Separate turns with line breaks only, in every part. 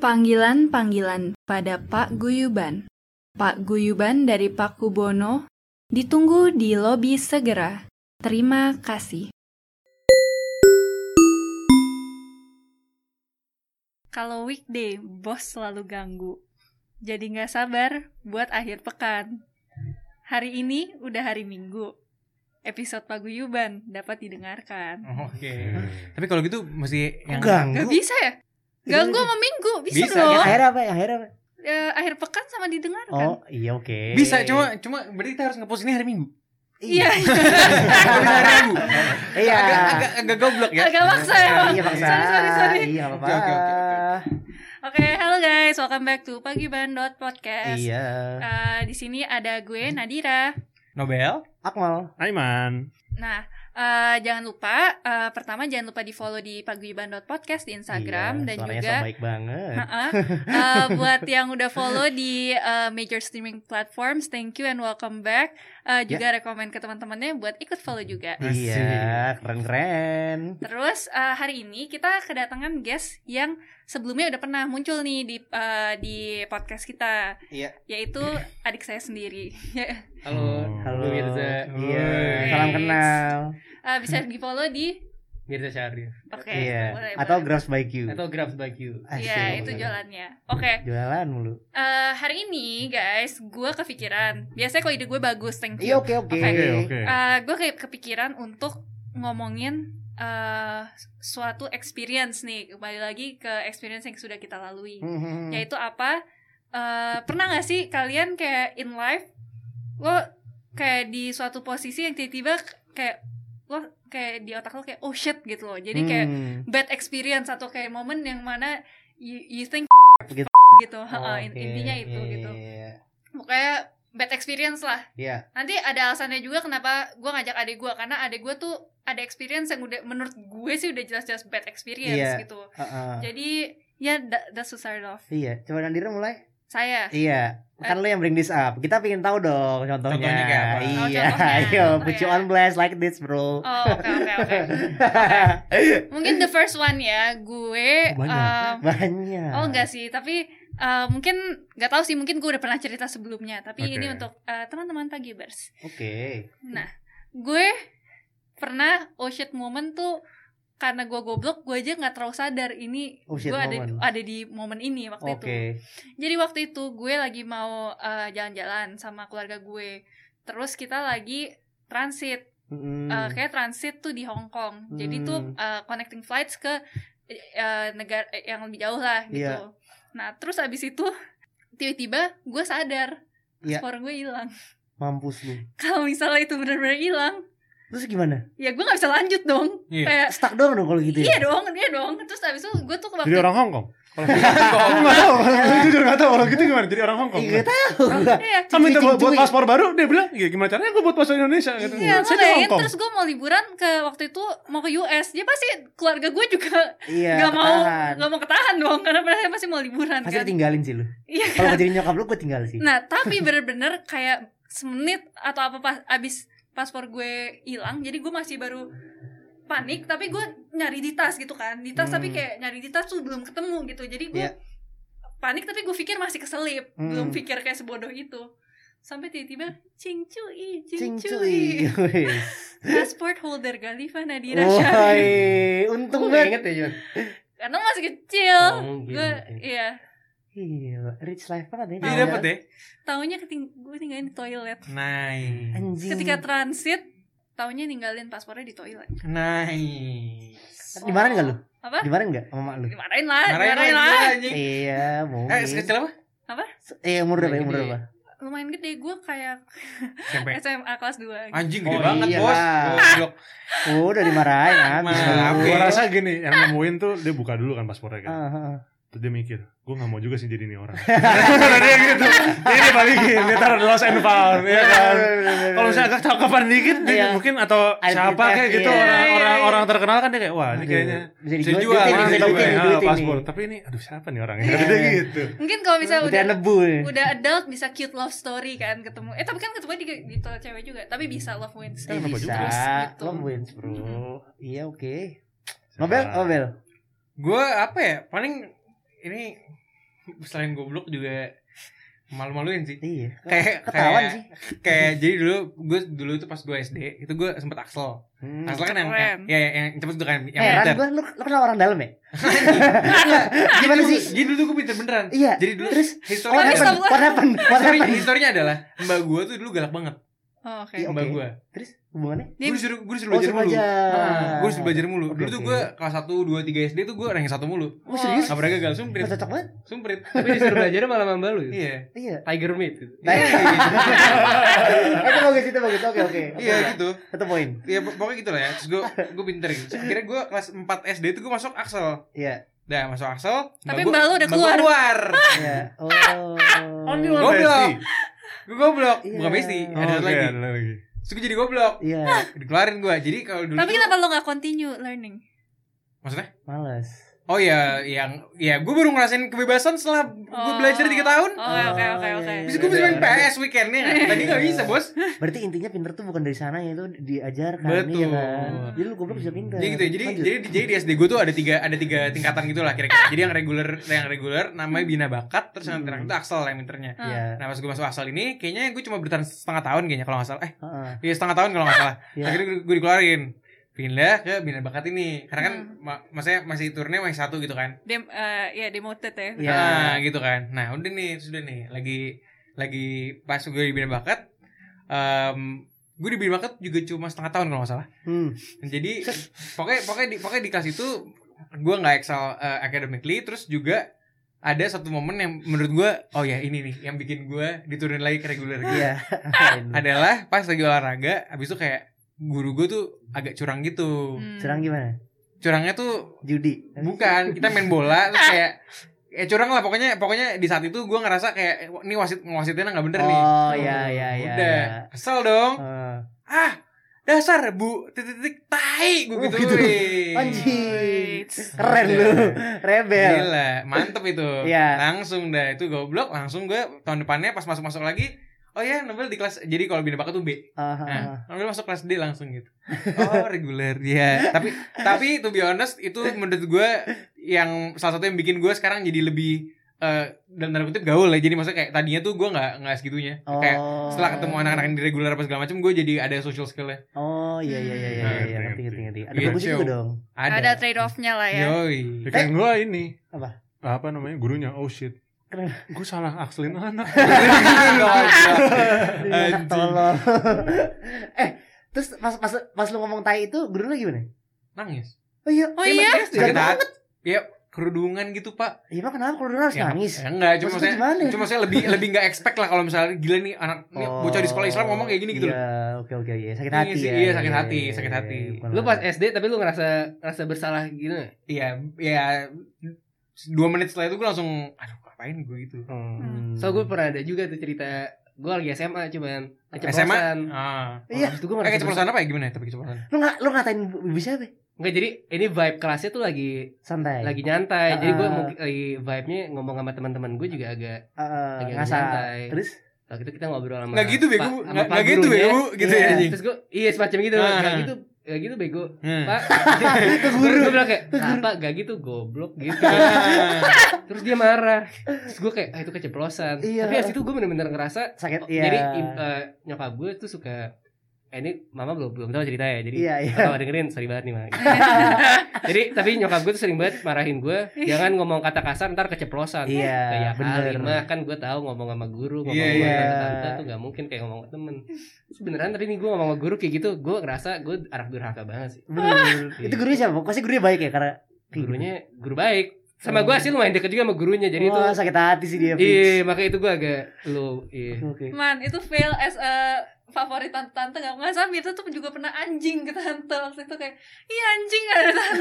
Panggilan-panggilan pada Pak Guyuban. Pak Guyuban dari Pak Kubono ditunggu di lobi segera. Terima kasih.
Kalau weekday, bos selalu ganggu. Jadi nggak sabar buat akhir pekan. Hari ini udah hari Minggu. Episode Paguyuban dapat didengarkan.
Oke. Tapi kalau gitu mesti yang
Nggak
Ganggu.
bisa ya? Ganggu sama Minggu, bisa,
Bisa,
dong.
Yang akhir apa? Yang akhir apa?
Eh, akhir pekan sama didengarkan.
ya? Oh, iya oke.
bisa cuma cuma berarti kita harus ngepost ini hari Minggu.
Iya,
Kalau bisa hari Minggu.
Iya.
Agak agak agak goblok ya.
agak maksa ya. Bang.
Iya, bangsa.
Sorry, sorry, sorry.
Iya, apa-apa.
Oke, oke, oke, oke.
Oke, halo guys, welcome back to Pagi Bandot Podcast.
Iya.
Eh, di sini ada gue Nadira.
Nobel.
Akmal.
Aiman.
Nah, eh, jangan lupa eh, pertama jangan lupa di follow di Paguyuban Podcast di Instagram
Iya,
dan
suaranya
juga
so baik banget.
Heeh. Eh, buat yang udah follow di eh, major streaming platforms, thank you and welcome back.
Ya.
Eh, juga rekomend ke teman-temannya buat ikut follow juga.
Iya, keren-keren.
Terus eh, hari ini kita kedatangan guest yang sebelumnya udah pernah muncul nih di eh, di podcast kita,
Iya.
yaitu adik saya sendiri. Eh,
Halo,
Halo.
Mirza.
Iya,
Woi.
salam kenal.
Eh, bisa di follow di,
Mirza Syarif.
oke,
iya.
boleh,
Atau
boleh.
Grabs by Q.
Atau Grabs by Q.
Asik.
Iya, itu jualannya. Oke,
Jualan mulu.
eh, hari ini guys, gue kepikiran. Biasanya kalau ide gue bagus, thank you.
Iya, oke oke.
Oke,
oke.
gue Eh, kayak kepikiran untuk ngomongin eh, suatu experience nih kembali lagi ke experience yang sudah kita lalui
Mhm.
yaitu apa eh, pernah nggak sih kalian kayak in life lo kayak di suatu posisi yang tiba-tiba kayak lo kayak di otak lo kayak oh shit gitu loh jadi kayak
Hmm.
bad experience atau kayak momen yang mana you, you think
Gitu.
gitu
Oh,
ha, in-
oke.
intinya itu
Iya,
gitu
iya, iya.
pokoknya bad experience lah
Iya.
nanti ada alasannya juga kenapa gue ngajak adik gue karena adik gue tuh ada experience yang udah menurut gue sih udah jelas-jelas bad experience
Iya.
gitu
Heeh.
jadi ya that, that's to start off
Iya, coba Nandira mulai.
saya
Iya, kan lo yang bring this up. Kita pingin tahu dong contohnya.
Contohnya kayak apa?
Iya,
Oh, contohnya.
ayo
Oh,
put you
ya.
on blast like this,
oh
bro.
oke oke oke mungkin the first one ya gue um,
Banyak.
oh enggak sih tapi uh, mungkin nggak tahu sih mungkin gue udah pernah cerita sebelumnya tapi
Oke.
ini untuk uh, teman-teman pagi bers
Oke.
Nah, gue pernah oh shit moment tuh karena gue goblok, gue aja nggak terlalu sadar ini
Oh shit
gue ada
moment.
ada di momen ini waktu itu.
Oke.
Jadi waktu itu gue lagi mau eh, jalan-jalan sama keluarga gue. Terus kita lagi transit,
Mm.
Eh, kayak transit tuh di Hong Kong. Jadi tuh
Hmm.
eh, connecting flights ke eh, negara eh, yang lebih jauh lah gitu.
Iya.
Nah, terus abis itu tiba-tiba gue sadar
Iya.
paspor gue hilang.
Mampus lu.
Kalau misalnya itu benar-benar hilang,
Terus gimana?
ya gue nggak bisa lanjut dong
Iya.
kayak
Stuck doang dong kalau gitu
iya
ya.
dong iya dong terus abis itu gue tuh waktu
Jadi orang Hong Kong. Kalau
Aku enggak tahu.
Aku jujur gak tau kalau gitu gimana jadi orang Hongkong.
Enggak tahu. gua.
iya
Kan minta buat, buat
Cuy.
paspor baru dia bilang "Ya, gimana caranya gue buat paspor Indonesia gitu.
Iya, lo
Saya di
bayangin
Hongkong.
terus gue mau liburan ke waktu itu mau ke US Dia pasti keluarga gue juga
Iya.
nggak mau
ketahan.
nggak mau ketahan dong Karena mereka masih mau liburan
Pasti
kan
ditinggalin sih lu.
Iya
Kalau gua jadi nyokap lu gua tinggal sih.
Nah tapi bener-bener kayak semenit atau apa pas abis paspor gue hilang Jadi gue masih baru panik Tapi gue nyari di tas gitu kan Di tas tapi
Hmm.
kayak nyari di tas tuh belum ketemu gitu Jadi gue
Iya.
panik tapi gue pikir masih keselip
Hmm.
Belum pikir kayak sebodoh itu Sampai tiba-tiba cingcui,
Cingcui.
cingcui Passport holder Galifa Nadira
Woi,
Syarif
untung
Gua
banget.
inget ya, Jon.
Karena masih kecil
Oh, gitu.
Gue, iya
Gila, rich life banget
Jadi
ya.
Iya.
dapat deh.
Taunya keting gue tinggalin di toilet
Nice.
Anjing.
Ketika transit Taunya ninggalin paspornya di toilet
Nice.
Dimarahin nggak lu?
Apa?
Dimarahin nggak sama mak lu?
Dimarahin lah,
Marahin
dimarahin,
lagi
lah.
dia, anjing.
Iya, mau.
Eh, sekecil apa?
Eh, umur berapa? ya? Umur
Gede.
berapa?
Lumayan gede, gue kayak
SMP.
SMA kelas 2
Anjing gede
Oh,
banget,
iya
Bos.
lah.
Goblok.
Oh, udah dimarahin habis. Ah,
Maaf,
lu.
Gue
Oke.
rasa gini, yang nemuin tuh dia buka dulu kan paspornya kan.
Ah, ah, ah.
Terus dia mikir, gue gak mau juga sih jadi ini orang. dia gitu. Dia dia balikin, dia taruh di lost and found, ya kan. Kalau misalnya agak cakapan dikit, dia
Iya.
mungkin atau
Ada
siapa
kita,
kayak gitu
iya.
Iya, iya,
orang-orang
iya.
orang terkenal kan dia kayak wah ini
Aduh,
kayaknya
bisa
Bisa
dijual,
dijual, bisa
duitin, bisa
dijual,
dijuitin,
ah,
dijuitin
paspor.
nih.
Tapi ini aduh siapa nih orangnya?
Iya.
Dia gitu.
Mungkin kalau misalnya
Udah
udah
nebu. ya.
udah adult bisa cute love story kan ketemu. Eh tapi kan ketemu di, di toilet cewek juga, tapi bisa love wins.
Eh,
Kenapa
bisa.
juga?
Gitu.
Lo wins, bro. Iya, oke.
Siapa?
Nobel, Nobel.
gue apa ya paling ini
selain goblok juga malu-maluin sih.
Iya.
Kayak
Ketahuan
kayak-
sih.
Kayak jadi dulu gue dulu itu pas gue SD itu gue sempet Axel.
Hmm.
Axel kan yang
Keren.
yang, ya, ya, yang cepet tuh kan yang
Heran
pinter.
gue, lu, lu kenal orang dalam ya? Gimana
Jadi-
sih?
Jadi dulu gue pinter beneran.
Iya.
Jadi dulu
Terus
history
what happened? What happened? What
Oh, Sorry,
happened?
historinya adalah mbak gue tuh dulu galak banget
Oh, oke.
Iya.
mbak
oke.
gue.
Terus hubungannya?
Gue
Dia-
disuruh gue disuruh
Oh,
belajar
suruh
mulu.
belajar.
Nah, gue disuruh belajar mulu.
Oke,
Dulu tuh
oke.
gue kelas 1 2 3 SD tuh gue rank 1 mulu.
Oh, serius?
Gak pernah gagal sumprit.
Gak cocok banget.
Sumprit.
Tapi disuruh belajar malah sama lu ya?
Iya.
Iya.
Tiger Meat gitu.
Nah, itu bagus, itu bagus. Oke, oke.
Iya gitu.
Satu poin.
Ya pok- pokoknya gitu lah ya. Terus gue gue pinter gitu. Terus Akhirnya gue kelas 4 SD itu gue masuk Axel.
Iya.
Dah masuk Axel.
Tapi
gua-
mbak lu udah
gua
keluar.
keluar.
Iya. Oh.
Lu
Goblok.
besti.
Gue goblok.
Iya.
Bukan besti.
Oh,
Ada satu
oke,
lagi.
ada lagi.
Terus gue jadi goblok.
Iya,
Dikeluarin gue. Jadi kalau dulu.
Tapi
tuh-
kenapa lo gak continue learning?
Maksudnya?
males.
Oh ya, yang ya gue baru ngerasain kebebasan setelah gue
Oh.
belajar 3 tahun.
Oh, oke, oke,
Oh,
oke.
iya,
Bisa gue bisa main
Iya.
PS weekendnya. Tadi gak bisa bos.
Berarti intinya pinter tuh bukan dari sana ya, itu diajarkan.
Betul.
Iya kan? Jadi lu goblok bisa pinter.
Jadi gitu ya. Jadi
Lanjut.
jadi jadi di SD gue tuh ada tiga ada tiga tingkatan gitu lah kira-kira. Jadi yang reguler yang reguler namanya bina bakat terus yang
Hmm.
terakhir itu Axel yang minternya.
Iya.
Nah pas gue masuk Axel ini kayaknya gue cuma bertahan setengah tahun kayaknya kalau nggak salah. Eh
Heeh.
iya setengah tahun kalau nggak salah.
Iya.
Akhirnya gue, gue dikeluarin pindah ke bina bakat ini karena kan
Hmm.
ma- maksudnya masih turnya masih satu gitu kan.
Dem, eh, ya demoted ya.
Iya.
Nah, gitu kan. Nah, udah nih, sudah nih. Lagi lagi pas gue di bina bakat em, gue di bina bakat juga cuma setengah tahun kalau nggak salah.
Hmm.
Jadi pokoknya pokoknya di pokoknya di kelas itu gue nggak excel eh, academically terus juga ada satu momen yang menurut gue oh ya ini nih yang bikin gue diturunin lagi ke reguler gitu.
Iya.
adalah pas lagi olahraga habis itu kayak guru gue tuh agak curang gitu
Hmm.
Serang gimana?
curangnya tuh
Judi.
Bukan, kita main bola terus kayak eh curang lah pokoknya pokoknya di saat itu gua ngerasa kayak eh, ini wasit wasitnya nggak bener nih.
Oh, iya iya iya.
Udah,
iya.
kesel dong.
Heeh.
Ah, dasar Bu titik titik tai gua
Oh,
gitu.
gitu.
weh.
Anjing.
Eits.
Keren lu. Rebel.
Gila, Ah. mantep itu.
Iya.
Langsung dah itu goblok, langsung gue tahun depannya pas masuk-masuk lagi Oh ya, Nobel di kelas. Jadi kalau bina bakat tuh B.
Aha.
Nah, Nobel masuk kelas D langsung gitu. Oh, reguler. Iya. Tapi tapi to be honest itu menurut gue yang salah satu yang bikin gue sekarang jadi lebih eh dalam tanda kutip gaul ya. Jadi maksudnya kayak tadinya tuh gue nggak nggak segitunya.
Oh.
Kayak setelah ketemu anak-anak yang di reguler apa segala macam, gue jadi ada social skillnya.
Oh iya iya iya iya
Hmm.
iya
Ngerti,
ngerti ngerti ngerti. Ada
Iya,
bagusnya
Cio.
juga dong.
Ada.
Ada trade off-nya lah ya.
Yoi.
Pikiran gue ini.
Apa?
Apa namanya? Gurunya. Oh shit.
Kenapa?
Gue salah akselin anak.
Anak tolol. eh, terus pas pas pas lu ngomong tai itu guru lu gimana?
Nangis.
Oh iya.
Oh iya?
Jangan
Sakit hati. Ya kerudungan gitu pak.
Iya mah kenapa kalau dulu harus
Ya,
nangis?
Ya, enggak, cuma
Maksudnya
saya
gimana? Oh.
cuma saya lebih lebih nggak expect lah kalau misalnya gila nih anak nih bocah di sekolah Islam ngomong kayak gini gitu
iya,
loh.
oke oke iya sakit
Iya
hati
sih,
ya.
iya, sakit hati, sakit hati.
bukan
Lu pas
orang.
SD tapi lu ngerasa ngerasa bersalah gitu nggak?
Iya, ya dua menit setelah itu gue langsung aduh ngapain gue gitu.
Hmm.
So gue pernah ada juga tuh cerita gue lagi SMA cuman
SMA?
keceplosan.
Ah.
Iya.
Terus
Eh
gue ngerasa bersalah.
keceplosan apa ya gimana ya tapi keceplosan?
Lu nggak lu ngatain ibu siapa?
Enggak jadi ini vibe kelasnya tuh lagi
Santai.
lagi nyantai. Jadi gue
Ah.
mungkin lagi vibe-nya ngomong sama teman-teman gue juga agak
Eh, eh,
lagi
ngasal.
santai.
Terus
Kalau gitu kita ngobrol sama
Enggak gitu
Pak-
bego,
sama
enggak
Pak
enggak gitu
gurunya.
bego gitu
Iya.
ya anjing.
Terus gue iya semacam gitu.
Ah.
Gak gitu gak gitu bego.
Hmm.
Pak,
ke guru.
gue bilang kayak apa gak gitu goblok gitu.
Ah.
Terus dia marah. Terus gue kayak ah, itu keceplosan.
Iya.
Tapi abis itu gue bener-bener
Oh,
ngerasa
Sakit iya.
Oh, Jadi im- eh, nyokap gue tuh suka eh, ini mama belum belum tahu cerita ya. Jadi
Iya iya.
kalau dengerin sorry banget nih mama. jadi tapi nyokap gue tuh sering banget marahin gue jangan ngomong kata kasar ntar keceplosan.
Iya,
kayak
bener.
bener. mah kan gue tahu ngomong sama guru ngomong
Iya,
sama
iya.
tante tuh gak mungkin kayak ngomong sama temen. Terus beneran tapi nih gue ngomong sama guru kayak gitu gue ngerasa gue anak durhaka banget sih. Iya.
Bener, bener.
iya.
Itu gitu. gurunya siapa? Pasti gurunya baik ya karena
Gurunya guru baik. Sama gue sih lumayan deket juga sama gurunya jadi itu.
Wah, sakit hati sih Oh, dia.
Iya, makanya itu gue agak low. Iya.
Oke.
Man, itu fail as a favorit tante-tante gak? Nggak sama, itu tuh juga pernah anjing ke tante Waktu itu kayak, iya anjing ada tante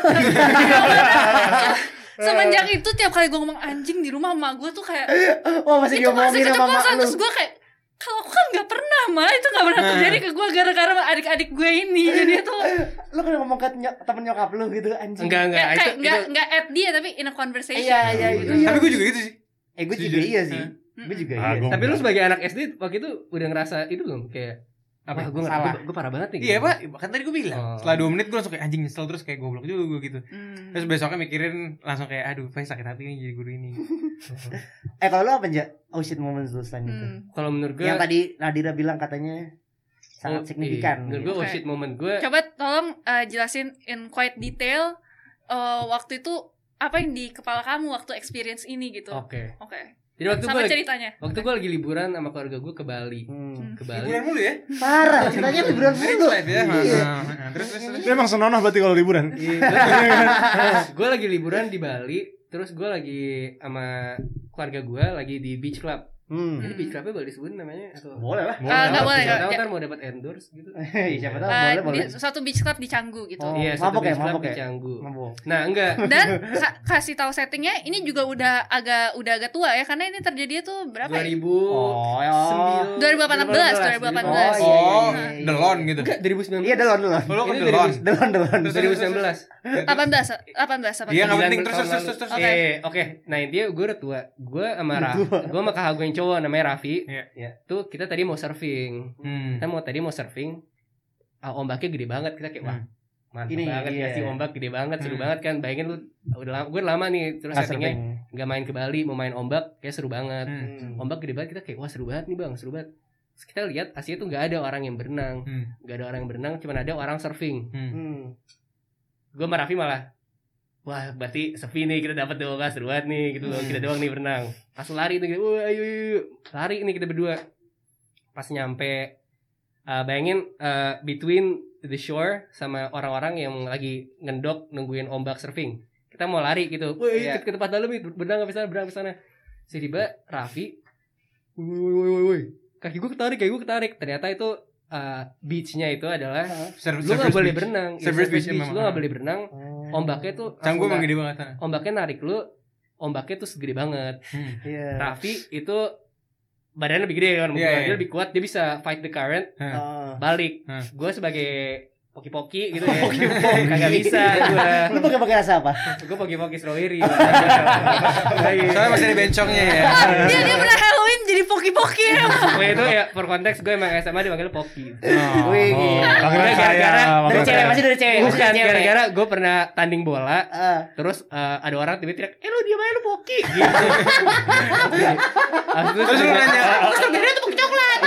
Semenjak itu tiap kali gue ngomong anjing di rumah emak gue tuh kayak
Wah, masih
Itu masih
diomongin sama mak
keceplosan
lu. Nah.
Terus gue kayak, kalau aku kan gak pernah mah Itu gak pernah terjadi ke gue gara-gara adik-adik gue ini Jadi itu
Lu kan ngomong ke nyok, temen nyokap lu gitu anjing.
Enggak enggak.
ya,
itu-
kayak
itu-
nggak nggak at dia tapi in a conversation
Iya, iya,
Gitu.
iya.
Tapi gue juga gitu sih.
Eh, gue juga
Jujur.
iya sih.
Hah?
Mm-mm.
Gue juga
Ah,
iya.
gua-
Tapi lu sebagai anak SD waktu itu udah ngerasa itu belum kayak Wah,
apa
gue
Salah.
gue parah banget nih.
iya pak kan tadi gue bilang
Oh.
setelah dua menit gue langsung kayak anjing nyesel terus kayak goblok juga gue gitu
Hmm.
terus besoknya mikirin langsung kayak aduh pak sakit hati nih jadi guru ini
Eh kalau lu apa Nja? Oh shit moments lu selanjutnya
Hmm.
Kalau menurut gue
Yang tadi Nadira bilang katanya
Oh,
Sangat
iya.
signifikan gitu.
Menurut gue
Oke.
worship moment gue
Coba tolong eh, jelasin in quite detail eh, waktu itu apa yang di kepala kamu waktu experience ini gitu. Oke.
Oke. Jadi waktu gue
Sama
lagi,
ceritanya.
waktu gue lagi liburan sama keluarga gue ke Bali.
Hmm.
Ke Bali.
liburan mulu ya
Parah, ceritanya liburan
Rich
mulu.
life ya Nah,
Iya.
nah, nah. terus terus terus.
Dia emang senonoh berarti kalau liburan.
gue Iya, lagi liburan di Bali, terus gue lagi sama keluarga gue lagi di beach club.
Hmm.
Jadi beach clubnya Bali sebut namanya atau
Boleh lah.
Eh, nggak boleh.
Siapa
nggak-
tahu
ya.
ntar mau dapat endorse gitu.
Eh, Siapa tahu
Eh,
boleh boleh.
di- Suatu beach club di Canggu gitu.
Oh,
Iya, satu
mabok ya,
beach club
mabok
di
ya.
Canggu.
Mabok.
Nah, enggak.
Dan ka- kasih tahu settingnya ini juga udah agak udah agak tua ya karena ini terjadinya tuh berapa? ya?
2000
Oh, ya.
sembil-
2018,
2018.
Oh,
iya,
oh
iya,
iya.
delon gitu
enggak 2019.
Iya, delon delon.
Oh, lo kan
Ini
delon
Delon delon.
Terus, terus,
2019.
Iya
18 18 apa?
Iya, nggak
Sembilan
penting terus terus
tahun lalu.
terus terus
Oke.
Eh, oke. Nah, intinya gue udah tua. Gue sama
Udah
Raffi,
tua.
gue sama kakak gue yang cowok namanya Raffi. Ya,
Iya.
Iya.
Tuh kita tadi mau surfing.
Hmm.
Kita mau tadi mau surfing. ah, ombaknya gede banget. Kita kayak wah, mantap
Ini,
banget
iya.
ya si ombak gede banget, seru
Hmm. Ah,
banget kan. Bayangin lu udah lama, gue lama nih terus
Nah,
settingnya
surfing.
nggak main ke Bali, mau main ombak, kayak seru banget.
Hmm.
Hmm.
Ombak gede banget kita kayak wah seru banget nih, Bang, seru banget. Terus kita lihat aslinya tuh nggak ada orang yang berenang,
Hmm.
nggak ada orang yang berenang, cuman ada orang surfing.
Hmm.
Hmm.
gue sama Raffi malah wah berarti sepi nih kita dapat doang seru banget nih gitu loh
Hmm.
kita doang nih berenang langsung lari tuh gitu wah ayo, ayo, ayo. lari nih kita berdua pas nyampe eh, bayangin eh, between the shore sama orang-orang yang lagi ngendok nungguin ombak surfing kita mau lari gitu wah ayo,
Iya.
ikut ke tempat dalam itu berenang ke sana berenang ke sana Si tiba Raffi woi woi woi woi kaki gue ketarik kaki gue ketarik ternyata itu eh, beachnya itu adalah
Surf-
lu nggak
surface
boleh
beach.
berenang Ya,
Surface
surface
beach
beach,
emang.
lu nggak boleh berenang
Oh.
ombaknya tuh
Canggu emang
langsung-
gede banget ah.
ombaknya narik lu ombaknya tuh segede banget
Hmm.
Iya.
Raffi itu badannya lebih gede kan
Iya, iya.
dia lebih kuat dia bisa fight the current
Oh.
balik
Hmm.
gue sebagai poki-poki gitu ya kagak bisa gue
Lu pakai pakai rasa apa?
gue poki-poki Iya. strawberry
Soalnya masih ada bencongnya ya.
Dia
Iya.
dia pernah Halloween jadi poki-poki.
gue itu ya for konteks gue emang SMA dipanggil poki
Oh.
Wih, gila.
Panggilnya saya.
Gara-gara-
Dari
panggilnya
cewek
saya.
masih dari cewek. masih
bukan
dari cewek.
gara-gara gue pernah tanding bola
Ah.
terus eh, ada orang tiba-tiba teriak, eh lu diam aja lu poki gitu Abis itu
Terus lu
tiba-
nanya,
"Oh, strawberry tuh poki coklat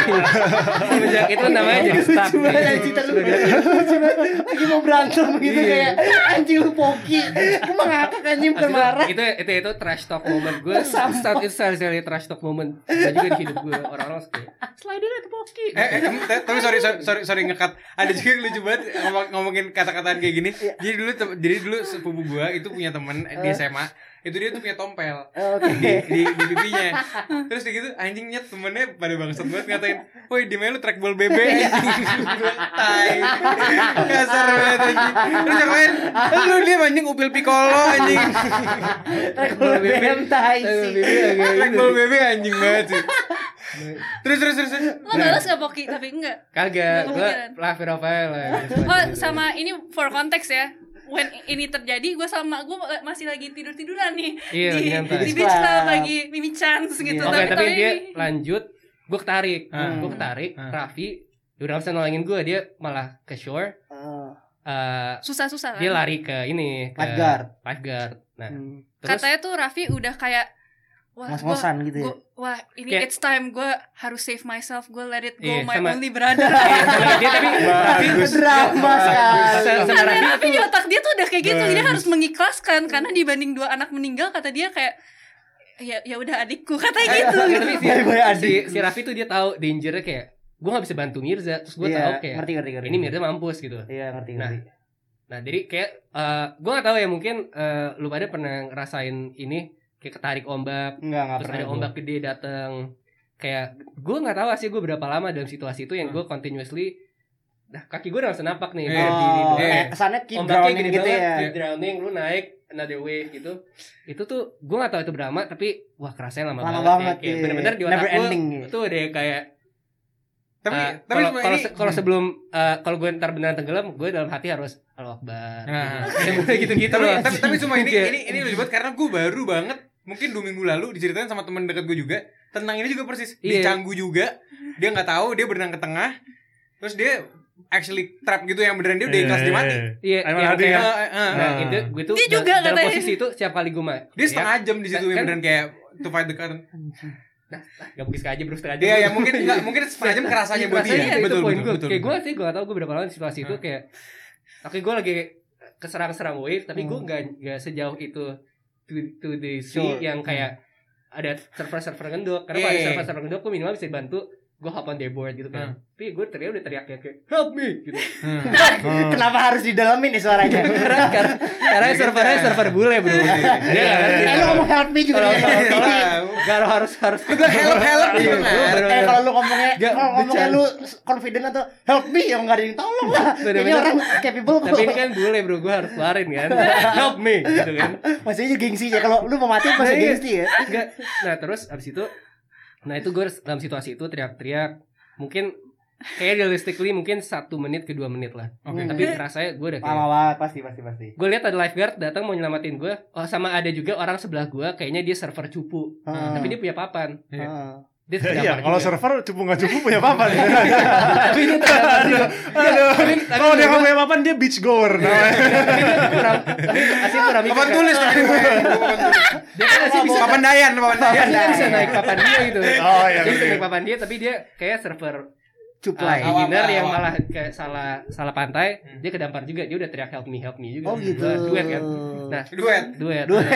Sejak itu namanya jadi stuck
Ah. Lucu banget
gitu.
cerita lu Lucu banget. Lagi mau berantem gitu
Iya.
kayak Anjing lu poki Gue mengakak anjing
Abis
bukan
itu-
marah
itu, itu, itu, trash talk moment gue Start itu salah satu trash talk moment Gue juga di hidup gue Orang-orang suka Slide aja ke poki
Eh, eh, em, t- tapi sorry sorry sorry, sorry ngekat. Ada juga yang lucu banget ngomong- ngomongin kata-kataan kayak gini.
Iya.
Jadi dulu tem- jadi dulu sepupu gua itu punya temen eh, di SMA. Itu dia tuh punya tompel
Oh,
di,
Oke
di, di pipinya. Terus dia gitu anjingnya temennya pada bangsat banget ngatain, "Woi, di main lu trackball BB." anjing." Gua, Tai. Kasar banget anjing. Terus yang lain, "Lu dia anjing upil piccolo anjing."
Rekul BM tai sih
gitu.
Trackball BB anjing banget sih. Terus terus terus. Nah. terus.
Lo balas gak poki tapi enggak. Nggak
Kagak Gue
kepikiran.
Lafir Rafael lah gitu.
Oh sama ini for konteks ya. When ini terjadi gue sama gue masih lagi tidur tiduran nih
Iya,
di,
lagi nyantai. Iya,
di beach club
Club.
lagi mimi chance gitu.
Oke tapi dia lanjut Gue ketarik
Ah.
Gue ketarik
Ah.
Raffi Dia udah nggak bisa nolongin gue Dia malah ke shore
Oh,
eh,
susah-susah kan.
Dia lari ke ini ke
Lifeguard
Lifeguard Nah
Hmm.
terus
Katanya tuh Raffi udah kayak wah gua-
Ngos-ngosan gitu ya
gua- wah ini
Kayak-
it's time gue harus save myself gue let it go
Iya,
my
sama-
only brother
Sama dia tapi Raffi
Drama sekali
Sama- sama
Karena
Raffi Iya.
Raffi di otak dia tuh udah kayak gitu dia harus mengikhlaskan karena dibanding dua anak meninggal kata dia kayak ya ya udah adikku katanya
Eh,
gitu
Tapi si,
Bye-bye,
si,
adik.
si Raffi tuh dia tahu dangernya kayak gue nggak bisa bantu Mirza terus gue
Iya,
tahu kayak
Ngerti ngerti ngerti
ini Mirza mampus gitu
Iya ngerti
Nah,
ngerti
nah jadi kayak gue nggak tahu ya mungkin eh, lu pada pernah ngerasain ini kayak ketarik ombak
Enggak enggak
terus
pernah
ada
gua.
ombak gede datang kayak gue nggak tahu sih gue berapa lama dalam situasi itu yang gue
Hmm.
continuously nah kaki gue langsung napak nih
Iya.
kayak di- di-
Oh,
di-
Iya.
kayak kesannya keep
Eh. ombaknya
drowning
gede
gitu
banget,
ya
keep drowning lu naik another wave gitu itu tuh gue gak tahu itu berapa tapi wah kerasanya lama,
Lama banget,
banget, ya. kayak
iya.
bener-bener di
Never
otak gue
ending, iya.
itu udah kayak
Tapi
eh,
tapi
kalau
semua
kalau
ini-
se- kalau sebelum eh, kalau gue ntar beneran tenggelam gue dalam hati harus Allah Akbar
Nah.
gitu gitu
tapi,
loh
tapi, tapi cuma ini
Iya.
ini ini lucu banget karena gue baru banget mungkin dua minggu lalu diceritain sama teman dekat gue juga tentang ini juga persis di
Iya.
Canggu juga dia nggak tahu dia berenang ke tengah terus dia actually trap gitu yang beneran dia udah
Iya,
ikhlas dia mati
iya, iya.
Iya,
Emang
yang
ada
kayak-
ya?
Eh, eh, eh.
Nah,
Ah.
itu gue tuh
Dia
da-
juga
dalam
katanya.
posisi itu setiap kali gue mah
dia setengah jam di situ
Kan-
yang beneran kayak to fight the current
gak mungkin sengaja bro setengah jam
Iya ya mungkin enggak mungkin setengah jam kerasanya buat
Iya, Rasanya
dia.
itu
Betul
poin
betul
gue.
betul.
kayak gue sih gue gak tau gue berapa lama di situasi itu kayak oke gue lagi keserang-serang wave tapi gue gak, gak sejauh itu to, to the sea
Sure.
yang kayak ada server-server ngendok karena
Iya,
kalau ada
iya.
server-server ngendok gue minimal bisa dibantu gue hop on their board gitu kan tapi gue teriak udah teriak kayak kayak, help me gitu
Hmm.
Kenapa harus didalamin nih suaranya?
karena karena- karena servernya server bule bro dia gak ngerti
eh lu ngomong help me juga.
Tolong,
nih.
Iya.
tolong, tolong.
Tahu.
Gak harus harus
Juga help-help gitu,
Iya,
Mer.
bener-bener.
Eh kalau lu ngomongnya
Gak,
kalau ngomongnya
bercanda.
lu confident atau help me yang enggak ada yang tolong lah. Ini
Bener-bener.
orang capable kok.
tapi ini kan bule bro gue harus keluarin kan help me gitu kan
Masih aja gengsinya kalau lu mau mati masih
Nah, iya.
gengsi ya.
Enggak. Nah terus abis itu Nah itu gue dalam situasi itu teriak-teriak Mungkin Kayaknya realistically mungkin satu menit ke dua menit lah
Oke.
Hmm.
Tapi rasanya gue udah kayak
Lama banget pasti pasti pasti.
Gue lihat ada lifeguard datang mau nyelamatin gue Oh sama ada juga orang sebelah gue Kayaknya dia server cupu Nah,
Heeh.
Tapi dia punya papan
Heeh.
Ah. Iya,
Dia terdampar
kalau
juga.
server cupu nggak cupu punya papan.
Tapi dia terdampar juga
Aduh.
Tapi- tapi
Kalau dia
menurut
nggak punya papan dia beach goer. namanya.
Tapi dia kurang Tapi asli kurang mikir
Papan
kan.
tulis tadi gue. Papan tulis.
Dia kan asli bisa
Papan Dayan, papan
Dia
Dayan.
kan bisa naik papan dia gitu
Oh iya.
Dia bisa
ngerti.
naik papan dia Tapi dia kayak server
Cukup
Ah,
lah.
awal-
beginner yang
awal.
malah ke salah salah pantai,
Hmm.
dia kedampar juga. Dia udah teriak help me, help me
Oh
juga.
gitu.
Dua- duet kan. Nah,
Duet.
duet.
Duet.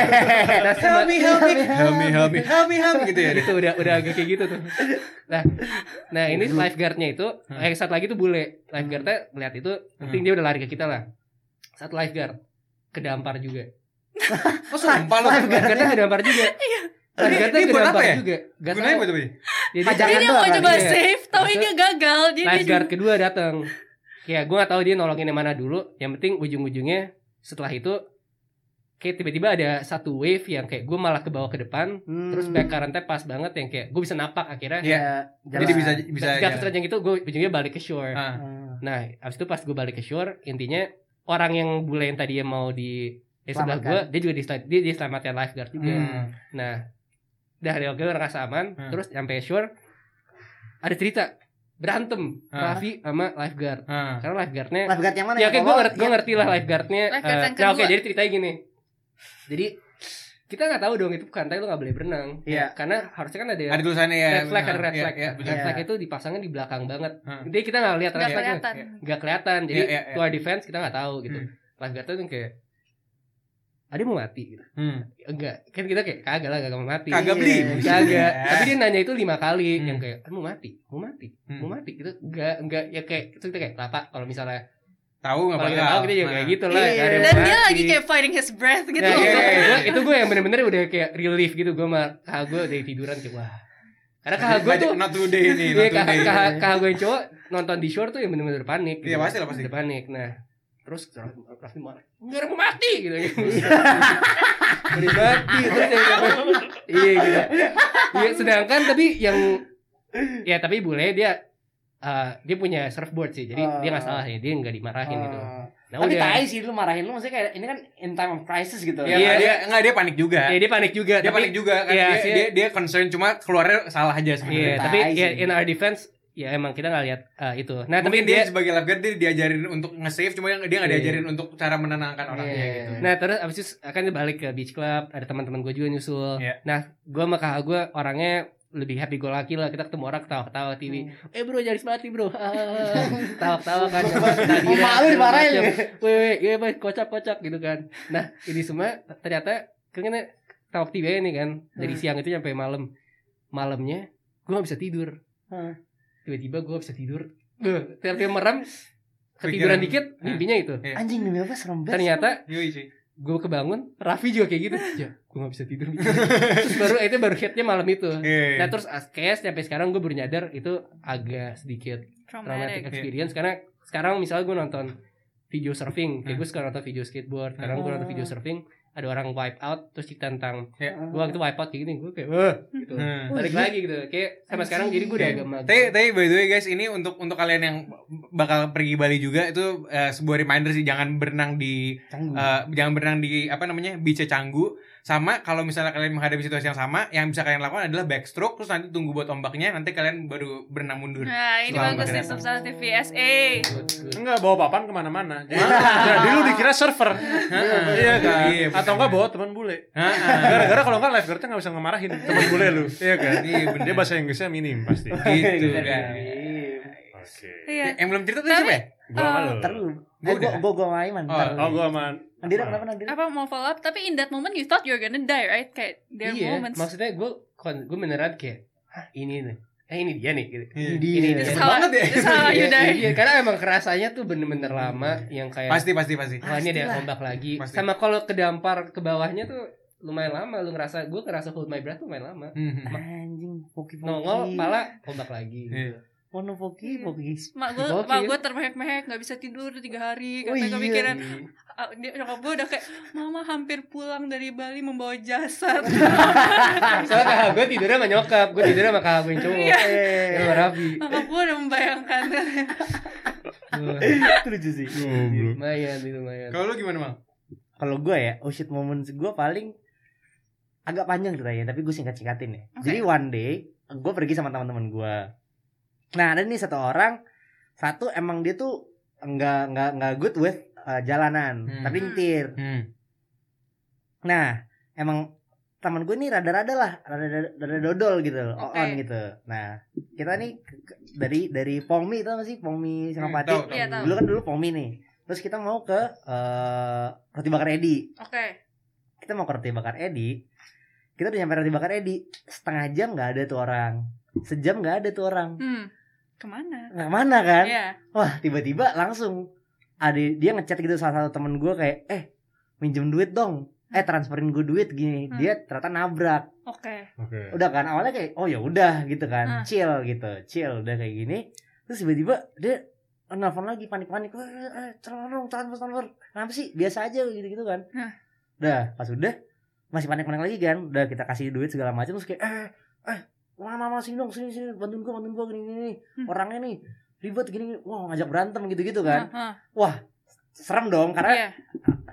Nah, Iya,
Help me, help me. Help me, help me. Help me, help me gitu ya. dia.
itu udah udah agak kayak gitu tuh. Nah, nah ini lifeguardnya itu,
Hmm.
eh saat lagi tuh bule. Lifeguardnya melihat itu, penting dia udah lari ke kita lah. Saat lifeguard kedampar juga.
Oh, sumpah lu.
Lifeguardnya kedampar juga. Lifeguardnya
Ini buat apa
kedampar
ya?
juga. Iya. Gak
Gunanya
tahu.
buat apa ya?
Jadi
Pajangan
Jadi dia
doang
mau
kan?
coba
Iya.
save, taunya gagal. Jadi
Iya,
dia
lifeguard kedua datang. Ya, gue gak tahu dia nolongin yang mana dulu. Yang penting ujung-ujungnya setelah itu kayak tiba-tiba ada satu wave yang kayak gue malah ke bawah ke depan,
Hmm.
terus back currentnya pas banget yang kayak gue bisa napak akhirnya.
Iya.
jalan.
Jadi bisa bisa
Gak
ya.
yang gitu, gue ujungnya balik ke shore.
Ah.
Hmm.
Nah, abis itu pas gue balik ke shore, intinya orang yang bule yang tadi mau di di sebelah gue,
Selamatkan.
dia juga disel- dia diselamatkan lifeguard juga.
Hmm.
Nah, dari oke udah ngerasa aman,
Hmm.
terus sampai shore ada cerita berantem
Hmm.
Raffi sama lifeguard.
Ah.
Karena lifeguardnya
Lifeguard Nah, yang
Nah,
mana?
Ya
yang
oke gue
tolong?
ngerti, gua
Iya.
ngerti lah lifeguardnya
Lifeguard
Eh,
yang
Nah oke
kedua.
jadi ceritanya gini Jadi kita nggak tahu dong itu pantai lu nggak boleh berenang Ya,
Iya.
Karena harusnya kan ada,
Ada tulisannya ya.
red flag ada
Ah,
red
iya,
flag
iya, betul.
Red
Iya.
flag itu dipasangnya di belakang banget
Hmm.
Jadi kita nggak lihat
Gak
red flagnya
kelihatan.
Nggak kelihatan Jadi
Iya, iya, iya.
to our defense kita nggak tahu gitu
Hmm.
Lifeguardnya tuh kayak ada yang mau mati gitu.
Hmm.
Enggak, kan kita kayak kagak lah, kagak mau mati.
Kagak beli.
Iya, Kagak. Tapi dia nanya itu lima kali
Hmm.
yang kayak "Ah, mau mati, mau mati,
Hmm.
mau mati gitu. Enggak, enggak ya kayak itu kita kayak lah Pak, kalau misalnya
Tahu enggak
kalau nggak tahu kita juga
Ah.
kayak gitu lah
Iya.
nggak ada yang
Dan dia
mati.
lagi kayak fighting his breath gitu.
Nah,
Iya,
itu,
iya, iya.
itu gue yang bener-bener udah kayak relief gitu gue mah kah gue dari tiduran kayak wah karena kah gue tuh
not today nih,
iya
not
kah
today.
kah kah gue yang cowok nonton di shore tuh yang bener-bener panik
Iya,
gitu.
pasti lah, pasti.
Bener-bener panik nah terus Raffi marah nggak ada mau mati gitu udah mati terus ya. yang kayak- iya gitu iya sedangkan tapi yang ya tapi bule dia eh, dia punya surfboard sih jadi dia nggak salah ya dia nggak dimarahin gitu
Ah.
nah,
Tapi
udah.
tai sih lu marahin lu maksudnya kayak ini kan in time of crisis gitu.
Iya,
Iya.
dia enggak dia panik juga.
Ya dia panik juga.
Dia
tapi,
panik juga kan.
Iya,
Dia
sih.
dia dia concern cuma keluarnya salah aja
Iya,
sebenarnya.
tapi
Tai
ya,
sih.
in our defense ya emang kita nggak lihat eh, itu. Nah, tapi
Mungkin
dia,
dia, sebagai lifeguard dia diajarin untuk nge-save cuma yang- dia nggak
Iya.
diajarin untuk cara menenangkan orangnya
Iya.
gitu.
Nah, terus abis itu akan dia balik ke beach club, ada teman-teman gue juga nyusul.
Iya.
Nah, gue sama kakak gue orangnya lebih happy go lucky lah kita ketemu orang ketawa-ketawa TV eh bro jadi mati bro ketawa-ketawa kan
Mau malu dimarahin. ya?
weh weh weh kocak-kocak gitu kan nah ini semua ternyata kayaknya ketawa TV aja nih kan dari siang itu sampai malam malamnya gue gak bisa tidur
Hmm.
tiba-tiba gue bisa tidur Beuh, tiap tiap merem
Pikiran.
ketiduran dikit mimpinya itu
Anjing mimpi apa serem banget.
ternyata
Yoi, cuy.
gue kebangun Raffi juga kayak gitu ya gue gak bisa tidur terus baru itu baru hitnya malam itu
Iya.
nah terus as- kayak sampai sekarang gue baru nyadar itu agak sedikit traumatic
Traumatic.
experience karena sekarang misalnya gue nonton video surfing kayak gue suka nonton video skateboard karena gue nonton video surfing ada orang wipe out terus cerita tentang
Ya.
gue waktu itu wipe out kayak gini gue kayak "Wah," gitu
Hmm.
balik lagi gitu kayak sampai sekarang jadi gue udah agak mager.
Tapi, tapi by the way guys, ini untuk untuk kalian yang bakal pergi Bali juga itu eh, sebuah reminder sih jangan berenang di
Canggu.
eh, jangan berenang di apa namanya bice canggu. Sama kalau misalnya kalian menghadapi situasi yang sama, yang bisa kalian lakukan adalah backstroke terus nanti tunggu buat ombaknya, nanti kalian baru berenang mundur.
Nah, ini
Selamat
bagus nih
datang.
substantif VSA.
Good, good.
Enggak bawa papan kemana-mana. Jadi, jadi lu dikira server. iya kan?
Iya, bener.
Atau enggak bawa teman bule.
Heeh.
Gara-gara kalau enggak lifeguardnya enggak bisa ngemarahin teman bule lu. Iya kan?
Iya, bener.
Dia bahasa Inggrisnya minim pasti. Oke.
gitu
Iya.
kan.
Iya.
Yang belum cerita tuh siapa ya?
Gua sama lu.
Terlalu.
Gua
Gue gue
udah.
gue gue main man.
Oh,
Oh, gua sama
Nandira kenapa Nandira?
Apa mau follow up? Tapi in that moment you thought you're gonna die, right? Kayak there are
iya,
moments.
maksudnya gue gue beneran kayak Hah, ini nih eh ini dia nih gitu.
Iya.
ini
This
dia.
is
Cepet
how-
banget ya.
this is how you
Iya,
die.
iya, karena emang kerasanya tuh bener-bener lama yang kayak
Pasti pasti pasti.
wah ini ada
Pastilah.
ombak lagi
Pasti.
sama kalau kedampar ke bawahnya tuh lumayan lama lu ngerasa gue ngerasa hold my breath tuh lumayan lama
Hmm.
Anjing, poki poki.
nongol
Iya.
pala ombak lagi
Iya.
Mono poki poki.
Mak gue,
Gokil.
mak gue termehek-mehek, gak bisa tidur tiga hari,
Oh,
karena
iya.
kepikiran ah, dia, nyokap gue udah kayak, mama hampir pulang dari Bali membawa jasad.
Ah, soalnya kakak gue tidurnya sama nyokap gue tidurnya sama kakak gue yang cowok
Iya.
Yang
Eh.
sama Raffi
nyokap gue udah membayangkan.
Tuh,
Itu lucu sih.
Goblok.
lumayan itu lumayan
Kalau lu gimana, Mang?
Kalau gue ya, oh shit moments gue paling agak panjang ceritanya, tapi gue singkat-singkatin ya.
Oke.
Jadi one day gue pergi sama teman-teman gue. Nah ada nih satu orang, satu emang dia tuh nggak nggak nggak good with uh, jalanan,
Hmm.
tapi nyetir.
Hmm.
Nah, emang teman gue nih rada-rada lah, rada-rada rada dodol gitu,
Oke.
on gitu. Nah, kita nih ke- ke- dari dari Pongmi itu sih Pongmi Senopati.
tahu,
Iya, tahu.
dulu kan dulu Pongmi nih. Terus kita mau ke eh roti bakar Edi.
Oke,
Kita mau ke roti bakar Edi. Kita udah nyampe roti bakar Edi. Setengah jam nggak ada tuh orang. Sejam nggak ada tuh orang.
hmm, kemana?
Nggak mana kan?
Iya,
Wah tiba-tiba langsung ada dia ngechat gitu salah satu temen gue kayak eh minjem duit dong eh transferin gue duit gini
Hmm.
dia ternyata nabrak
oke.
Oke.
udah kan awalnya kayak oh ya udah gitu kan
Hmm.
chill gitu chill udah kayak gini terus tiba-tiba dia nelfon lagi panik-panik eh eh, eh, transfer dong transfer transfer kenapa sih biasa aja gitu-gitu kan
Nah.
udah pas udah masih panik-panik lagi kan udah kita kasih duit segala macam terus kayak eh eh wah mama sini dong sini sini bantuin gua bantuin gua gini gini gini.
Hmm.
orangnya nih ribet gini, gini wah ngajak berantem gitu-gitu kan
Ah, ah,
serem dong karena
Iya,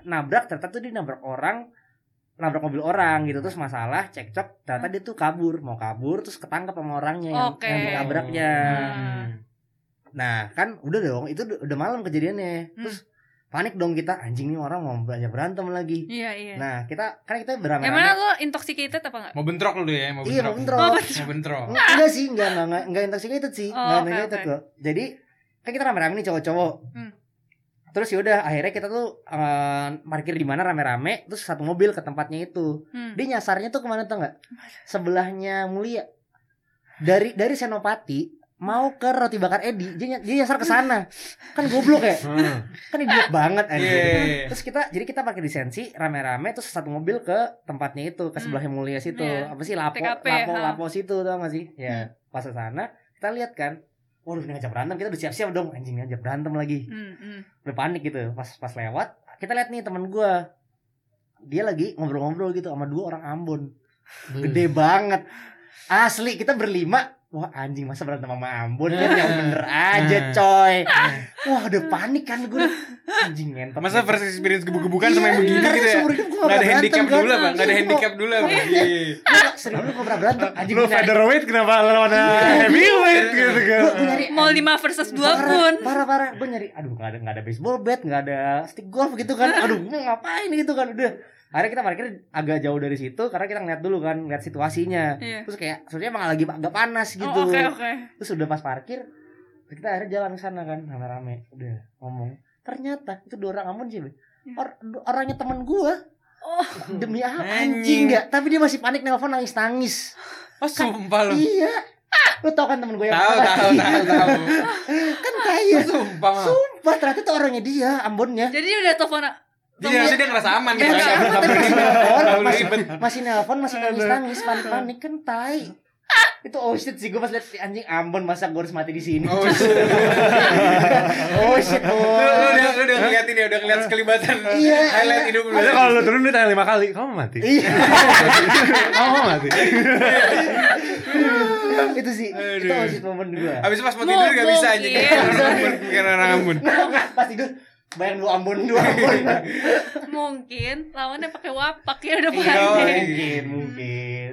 nabrak ternyata tuh dia nabrak orang nabrak mobil orang gitu terus masalah cekcok ternyata dia tuh kabur mau kabur terus ketangkap sama orangnya yang,
Oke.
yang nabraknya
Hmm.
nah kan udah dong itu udah udah malam kejadiannya
Hmm.
terus panik dong kita anjing nih orang mau banyak berantem lagi
iya, iya.
nah kita kan kita
Emang
beramai-ramai
lo intoxicated apa enggak?
Mau bentrok lu ya, mau
iya
bentrok.
mau
Oh,
bentrok
Mau bentrok.
Nggak- enggak sih enggak enggak enggak, enggak intoxicated sih
Oh,
enggak
oke,
intoxicated
oke.
kok jadi kan kita rame-rame nih cowok-cowok
Hmm.
terus yaudah akhirnya kita tuh eh, parkir di mana rame-rame terus satu mobil ke tempatnya itu
Hmm.
Dia nyasarnya tuh kemana tuh nggak? Sebelahnya Mulia. Dari dari Senopati mau ke roti bakar Edi, dia, ny- dia nyasar ke sana. Kan goblok ya?
Hmm.
Kan idiot banget
Iya.
anjir. Terus kita jadi kita pakai lisensi rame-rame terus satu mobil ke tempatnya itu ke sebelahnya Mulia situ.
Hmm. Iya.
Apa sih Lapo
TKP,
Lapo
ha. Hmm.
Lapo situ tau gak sih? Ya, pas ke sana kita lihat kan. Waduh, ini ngajak berantem, kita udah siap-siap dong anjing ngajak berantem lagi
Hmm, hmm.
udah panik gitu pas pas lewat kita lihat nih teman gua dia lagi ngobrol-ngobrol gitu sama dua orang Ambon
Hmm.
gede banget asli kita berlima wah anjing masa berantem sama Ambon kan yang bener
Eh.
aja coy wah udah panik kan gue anjing ngentot kan
Masa first experience gebuk-gebukan
Iya,
sama yang begini gitu ya? Gak
Gak
ada handicap dulu apa?
bang
Gak ada handicap dulu apa? Iya, iya, iya.
Serius lu gak pernah berantem Anjing
Lu
gua nyari-
featherweight kenapa lawan heavyweight gitu kan?
gua- gua nyari
Mau 5 versus 2 pun.
parah parah gue nyari aduh nggak ada nggak ada baseball bat nggak ada stick golf gitu kan aduh mau ngapain gitu kan udah akhirnya kita parkir agak jauh dari situ karena kita ngeliat dulu kan ngeliat situasinya
Iya.
terus kayak sebenarnya emang lagi agak panas gitu
Oh, oke, oke.
terus udah pas parkir kita akhirnya jalan ke sana kan rame-rame udah ngomong ternyata itu dua orang amun sih Be. Or- du- orangnya temen gua
Oh.
demi apa
Anjing.
anjing nggak tapi dia masih panik nelpon nangis nangis
Oh, sumpah lu.
iya lu tau kan temen gue yang
Tahu, tahu, tahu, tahu.
kan
Oh,
kaya
Sumpah, Mang.
sumpah ternyata itu orangnya dia ya. ambonnya
Jadi dia udah telepon
Dia harusnya Iya, dia ngerasa aman gitu. kan?
Nggak, Iya. nggak, nggak, nggak, nggak, nggak, nggak, nggak,
Terlalu
nggak,
ribet.
masih nelpon masih nangis nangis panik panik kan tai itu oh shit sih gue pas liat anjing Ambon masa gue harus mati di sini.
Oh, shit.
oh shit.
Lu,
Oh.
lu udah lu udah ngeliat ini, udah ngeliat sekelibatan
Iya,
highlight
iya.
hidup lu.
Ada kalau lu turun dia tanya lima kali, kamu mati.
Iya.
Kamu mau mati.
itu sih. Itu
Aduh.
oh shit momen gue.
Abis itu pas mau tidur gak bisa anjing.
Mungkin.
Pikiran orang Ambon.
pas tidur bayang dua Ambon dua Ambon.
Iya.
Mungkin lawannya pakai wapak ya udah
Iya,
pandai.
mungkin mungkin.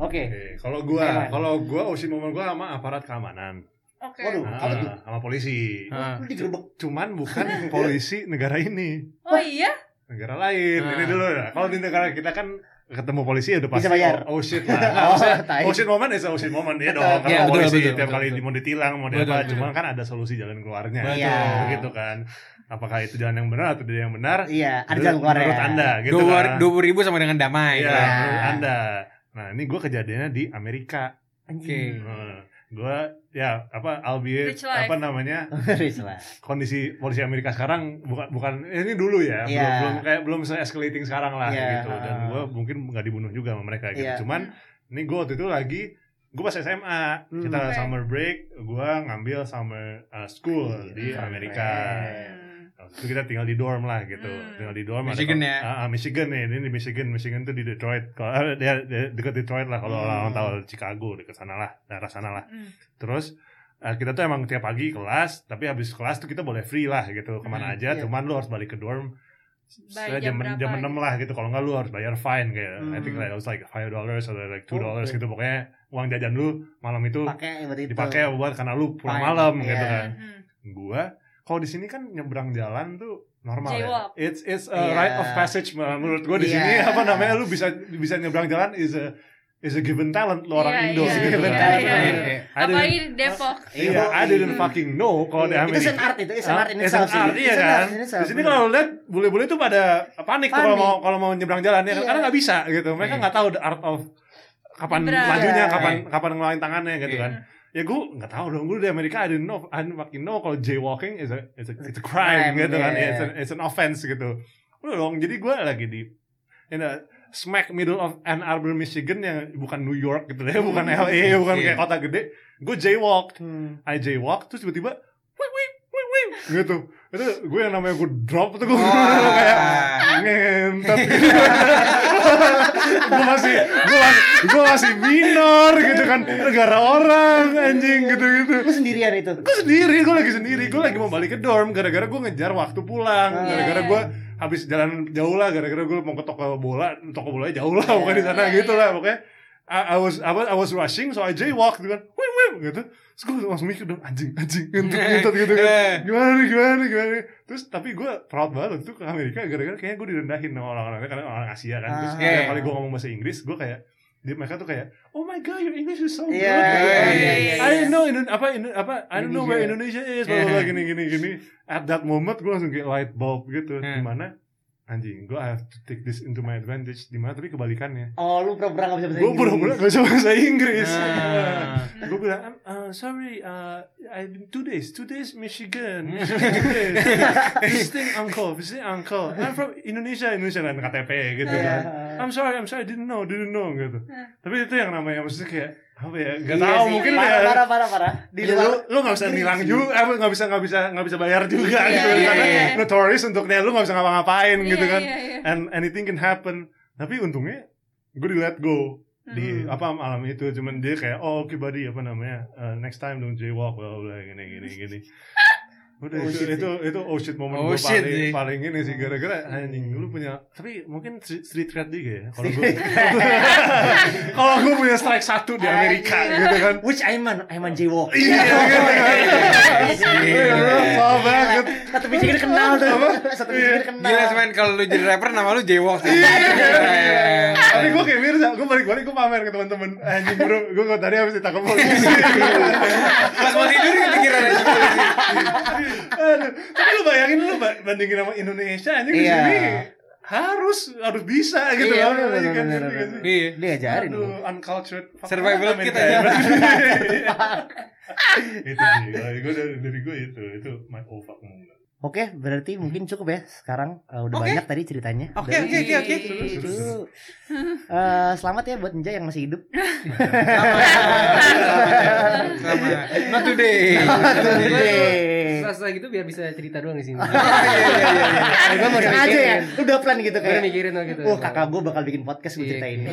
Oke.
Oke, Iya. Kalau gua, kalau gua usin momen gua sama aparat keamanan,
Oke.
Waduh,
Nah,
apa tuh?
sama polisi.
Ah.
Lu digerebek.
Cuman bukan polisi negara ini,
Oh iya,
negara lain.
Ah.
Ini dulu. Nah, Kalau di negara kita kan ketemu polisi ya udah pasti
Bisa bayar.
Oh, oh shit lah. Nah, maksudnya,
tai.
oh shit moment is oh shit moment ya dong. Karena
Iya, betul,
polisi
betul,
tiap
betul,
kali
betul.
mau ditilang mau di
Betul,
apa,
betul.
cuman kan ada solusi jalan keluarnya.
Iya.
Gitu kan. Apakah itu jalan yang benar atau tidak yang benar?
Iya, ada
Menurut-
jalan keluar
Menurut
ya.
Anda gitu
Dua
kan.
dua puluh ribu sama dengan damai. kan.
Iya,
Ya.
menurut Anda. Nah, ini gue kejadiannya di Amerika.
Oke.
Hmm. gue ya apa albeit
Rich life.
apa namanya
Serius lah.
kondisi polisi Amerika sekarang bukan bukan ini dulu
Iya.
ya belum belum kayak belum se escalating sekarang lah
Iya.
gitu dan gue mungkin nggak dibunuh juga sama mereka gitu
Iya.
cuman ini gue waktu itu lagi gue pas SMA
Hmm.
kita
Oke.
summer break gue ngambil summer uh, school di
Iya, Keren.
Amerika Waktu itu kita tinggal di dorm lah gitu
Hmm.
tinggal di dorm ada-
Michigan ya?
Ah, ah, Michigan ya ini di Michigan Michigan tuh di Detroit kalau ah, dia, dia dekat Detroit lah kalau
Hmm.
orang tahu Chicago dekat sana lah daerah sana lah
Hmm.
Terus eh, kita tuh emang tiap pagi kelas, tapi habis kelas tuh kita boleh free lah gitu kemana
Hmm,
aja.
iya.
Cuman lu harus balik ke dorm
By
setelah
jam
jam
berapa
jam enam lah gitu. Kalau nggak lu harus bayar fine kayak
Hmm.
I think like, it was like five dollars atau like two dollars
Oke.
gitu pokoknya uang jajan lu malam itu
Pakai buat itu.
dipakai buat karena lu pulang
Fine,
malam
iya.
gitu kan.
Hmm.
Gua kalau di sini kan nyebrang jalan tuh normal
Jaywalk.
ya. It's it's a
Iya.
right of passage menurut gua di
Iya.
sini apa namanya lu bisa bisa nyebrang jalan is a is a given talent lu orang
Iya,
Indo
iya,
iya,
gitu kan.
iya,
iya.
I didn't-
Apalagi di Depok.
Iya,
Iya,
I didn't
iya.
fucking know kalau di Amerika.
Itu sen art itu, it's an art in
It's
itself
an art,
sih.
iya
It's an
kan?
art in itself,
Di sini
bener.
kalau lu lihat bule-bule tuh pada panik, tuh kalau
Panik.
mau kalau mau nyebrang jalan ya kan?
Iya.
karena nggak bisa gitu. Mereka
Iya.
nggak tahu the art of kapan
Nyebrang.
majunya,
Iya.
kapan kapan ngeluarin tangannya gitu
Iya.
kan. Ya gue nggak tahu dong, gue di Amerika I didn't know, I didn't fucking know kalau jaywalking is a it's a, it's a crime,
Crime,
gitu kan,
iya.
it's, an, it's an offense gitu. Udah dong, jadi gue lagi di in a smack middle of Ann Arbor, Michigan yang bukan New York gitu deh, bukan LA, bukan
Iya.
kayak kota gede. Gue jaywalk
Hmm.
I jaywalk terus tiba-tiba wih wih wih wih gitu itu gue yang namanya gue drop tuh gue
Oh.
kayak ngentot gitu. gue masih gue masih gue masih minor gitu kan negara orang anjing gitu gitu
Lu sendirian itu.
gue sendiri gue lagi sendiri gue lagi mau balik ke dorm gara-gara gue ngejar waktu pulang
Ah.
gara-gara
Iya.
gue habis jalan jauh lah gara-gara gue mau ke toko bola toko bolanya jauh lah bukan di sana
Iya,
gitu lah pokoknya I, I was I was I was rushing so I jaywalk gitu kan wim wim gitu terus gue langsung mikir dong anjing anjing ngentut ngentut gitu kan
Eh.
gimana nih gimana nih gimana nih terus tapi gue proud banget waktu itu ke Amerika gara-gara kayaknya gue direndahin sama orang-orangnya karena orang Asia kan terus
Ah.
tiap
Iya.
kali gue ngomong bahasa Inggris gue kayak dia mereka tuh kayak oh my god your English is so
Iya,
good
iya, iya,
iya.
I didn't know Indo- apa Indo- apa I don't know where
Indonesia.
Indonesia is bla bla bla, gini gini gini at that moment gue langsung kayak light bulb gitu
Hmm.
dimana anjing gue have to take this into my advantage dimana tapi kebalikannya
Oh, lu pura-pura gak bisa Iya. bahasa
gue pura-pura gak bisa bahasa Inggris
Ah.
gue
Mm.
bilang I'm, uh, sorry uh, I been two days two days Michigan
Mm.
Michigan two days visiting uncle visiting uncle I'm from Indonesia Indonesia dan KTP gitu
Iya.
kan I'm sorry, I'm sorry, didn't know, didn't know gitu. Tapi itu yang namanya maksudnya kayak apa ya? Gak
Iya
tahu
sih.
mungkin
parah,
ya.
parah parah parah. Di
Iya,
luar
lu lu nggak bisa nilang juga, eh, nggak bisa nggak bisa nggak bisa bayar juga
Iya,
gitu.
iya,
Karena
iya.
notorious untuknya lu nggak bisa ngapa-ngapain
Iya,
gitu kan.
iya, iya.
And anything can happen. Tapi untungnya gue di let go di
Hmm.
apa malam itu cuman dia kayak oh oke buddy apa namanya uh, next time don't jaywalk bla bla gini gini gini udah
Oh,
itu,
shit,
itu itu oh shit moment
Oh,
gue
shit,
paling
sih.
paling ini sih gara-gara
Hmm.
anjing dulu punya tapi mungkin street street cred juga ya kalau gue
Street
kalau gue punya strike satu di Amerika gitu kan
Which Aiman? Aiman Jaywalk.
Iya, gitu kan. Iya, Parah banget.
Satu biji kita kenal tuh. Satu biji
Iya.
kita kenal.
Nah. Gila sih men, kalau lu jadi rapper nama lu Jaywalk sih.
iya, Tapi gue kayak Mirza, gue balik-balik gue pamer ke teman-teman. Anjing bro, gue kok tadi habis ditangkap polisi.
Pas mau tidur kepikiran aja.
Aduh, tapi lu bayangin lu ba- bandingin sama Indonesia anjing di
Iya.
sini harus harus bisa gitu
Iya, bener,
kan. Iya,
bener,
kan,
bener,
iya, kan.
bener.
Iya.
Dia ajarin.
Aduh, uncultured fuck
Survival
Amerika.
kita ya.
itu sih, gue dari gue itu itu my oh fuck moment.
Oke, berarti mungkin cukup ya sekarang eh, udah
Oke.
banyak tadi ceritanya.
Oke,
Dari-
oke, oke, oke.
Tuh. Eh, selamat ya buat Nja yang masih hidup.
Selamat. Selamat. Not today.
Today.
Setelah gitu biar bisa cerita doang di sini.
Iya, iya, iya, iya.
Gue mau
Sengaja
mikirin.
ya, udah plan gitu
Gue
kayak.
mikirin waktu gitu.
Wah, kakak gue bakal bikin podcast gue cerita
Iya.
ini.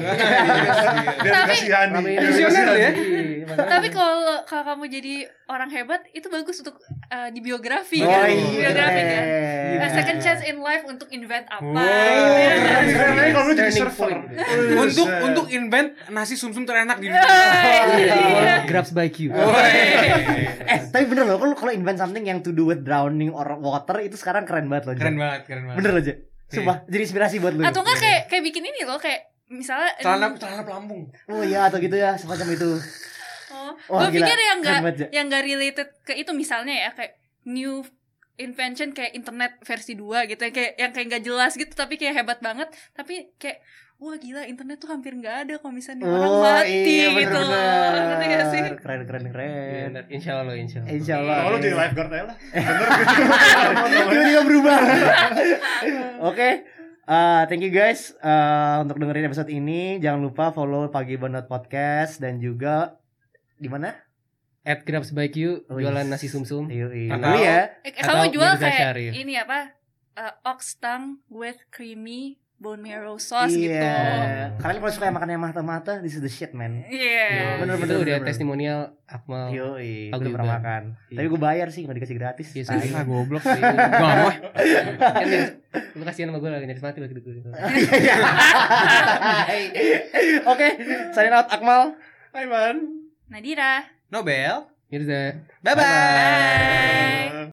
Biar kasihan
Rame
nih.
ini.
Visioner ya?
Iya, makanya.
Hmm. Tapi kalau kalau kamu jadi orang hebat itu bagus untuk eh, di biografi
Oh
kan.
iya.
Biografi kan.
Eh,
Eh, second chance in life untuk invent apa
Wow.
gitu ya.
Keren, keren aja kalau lu jadi
Turning
server.
point.
Untuk untuk invent nasi sumsum terenak di dunia.
Iya.
Iya.
Yeay.
Grabs by Q.
Woi.
Eh, tapi bener loh, kalau kalau invent something yang to do with drowning or water itu sekarang keren banget loh. Nja.
Keren banget, keren banget.
Bener loh, Nja. Sumpah, jadi inspirasi buat lu.
Atau enggak kayak kayak bikin ini loh kayak misalnya
Celana celana pelambung.
Oh iya, atau gitu ya, semacam itu.
Oh,
Wah,
gue
gila.
pikir yang enggak
Keren banget, Ja.
yang enggak related ke itu misalnya ya kayak new invention kayak internet versi 2 gitu yang kayak yang kayak nggak jelas gitu tapi kayak hebat banget tapi kayak wah gila internet tuh hampir nggak ada kalau misalnya nih orang mati
Oh, iya,
gitu loh.
bener-bener.
ngerti gak sih Eh,
Keren, keren,
Iya,
keren.
ntar Insya Allah, insya Allah.
Insya Allah.
Kalau lu jadi lifeguard aja lah. Bener gitu.
Tiba-tiba berubah. Oke. eh, thank you guys eh, untuk dengerin episode ini. Jangan lupa follow Pagi Banget Podcast dan juga di mana?
At Grabs by Q, jualan nasi sumsum.
Yui.
Atau-
Lu ya.
Eh, kamu
Atau
jual
Mirza
kayak
Syarif.
ini apa Eh, ox tongue with creamy bone marrow sauce gitu
Iya. Kalian kalau suka yang makan yang mata-mata, this is the shit man.
Iya.
Bener,
Itu
bener,
udah
bener.
testimonial
Oh.
Akmal.
Yoi,
Pagi
udah pernah
Banget.
makan. Tapi gue bayar sih, gak dikasih gratis.
Iya,
Tai.
sih.
Ah, goblok
sih.
Gua nggak mau.
Kan nyaris- Lu kasihan sama gue lagi nyaris mati waktu itu.
Oke, sign out Akmal.
Hai man.
Nadira
Nobel.
Mirza.
Bye bye.
bye